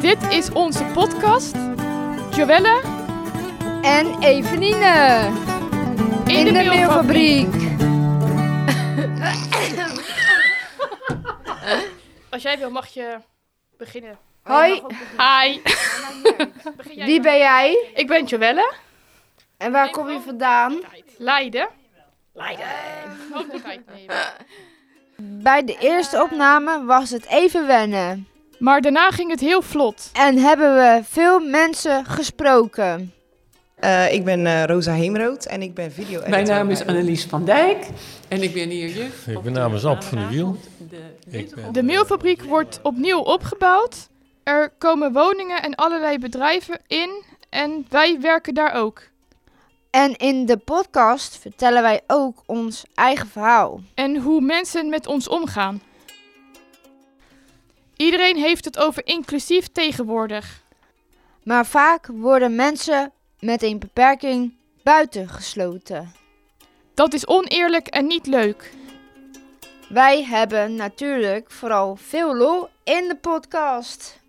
Dit is onze podcast. Joelle En Eveline in, in, de, meelfabriek. Als jij wil mag je beginnen. Hoi, Hi, Begin jij wie maar. ben jij? Ik ben Joelle. En waar kom je vandaan? Leiden. Oh, Leiden. Ook niet tijd nemen. Bij de eerste opname was het even wennen. Maar daarna ging het heel vlot. En hebben we veel mensen gesproken. Eh, ik ben eh, Rosa Heemrood en ik ben video Mijn naam is Annelies van Dijk en ik ben hier juf. Ik op ben de namens Ab van de Wiel. maandagavond de Beethoven- De meelfabriek wordt opnieuw opgebouwd. Er komen woningen en allerlei bedrijven in. En wij werken daar ook. En in de podcast vertellen wij ook ons eigen verhaal. En hoe mensen met ons omgaan. Iedereen heeft het over inclusief tegenwoordig. Maar vaak worden mensen met een beperking buitengesloten. Dat is oneerlijk en niet leuk. Wij hebben natuurlijk vooral veel lol in de podcast.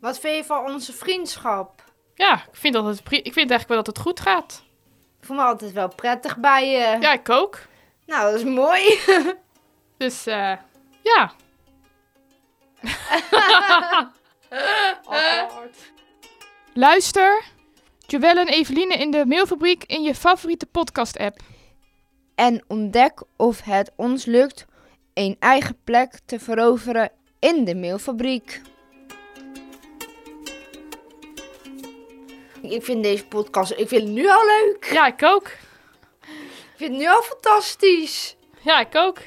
Wat vind je van onze vriendschap? Ja, ik vind, dat het, pri- ik vind eigenlijk wel dat het goed gaat. Ik voel me altijd wel prettig bij je. Ja, ik ook. Nou, dat is mooi. Dus eh, ja. Luister Joelle en Eveline in de Mailfabriek in je favoriete podcast-app. En ontdek of het ons lukt een eigen plek te veroveren in de meelfabriek. Ik vind deze podcast, ik vind het nu al leuk. Ja, ik ook. Ik vind het nu al fantastisch. Ja, ik ook.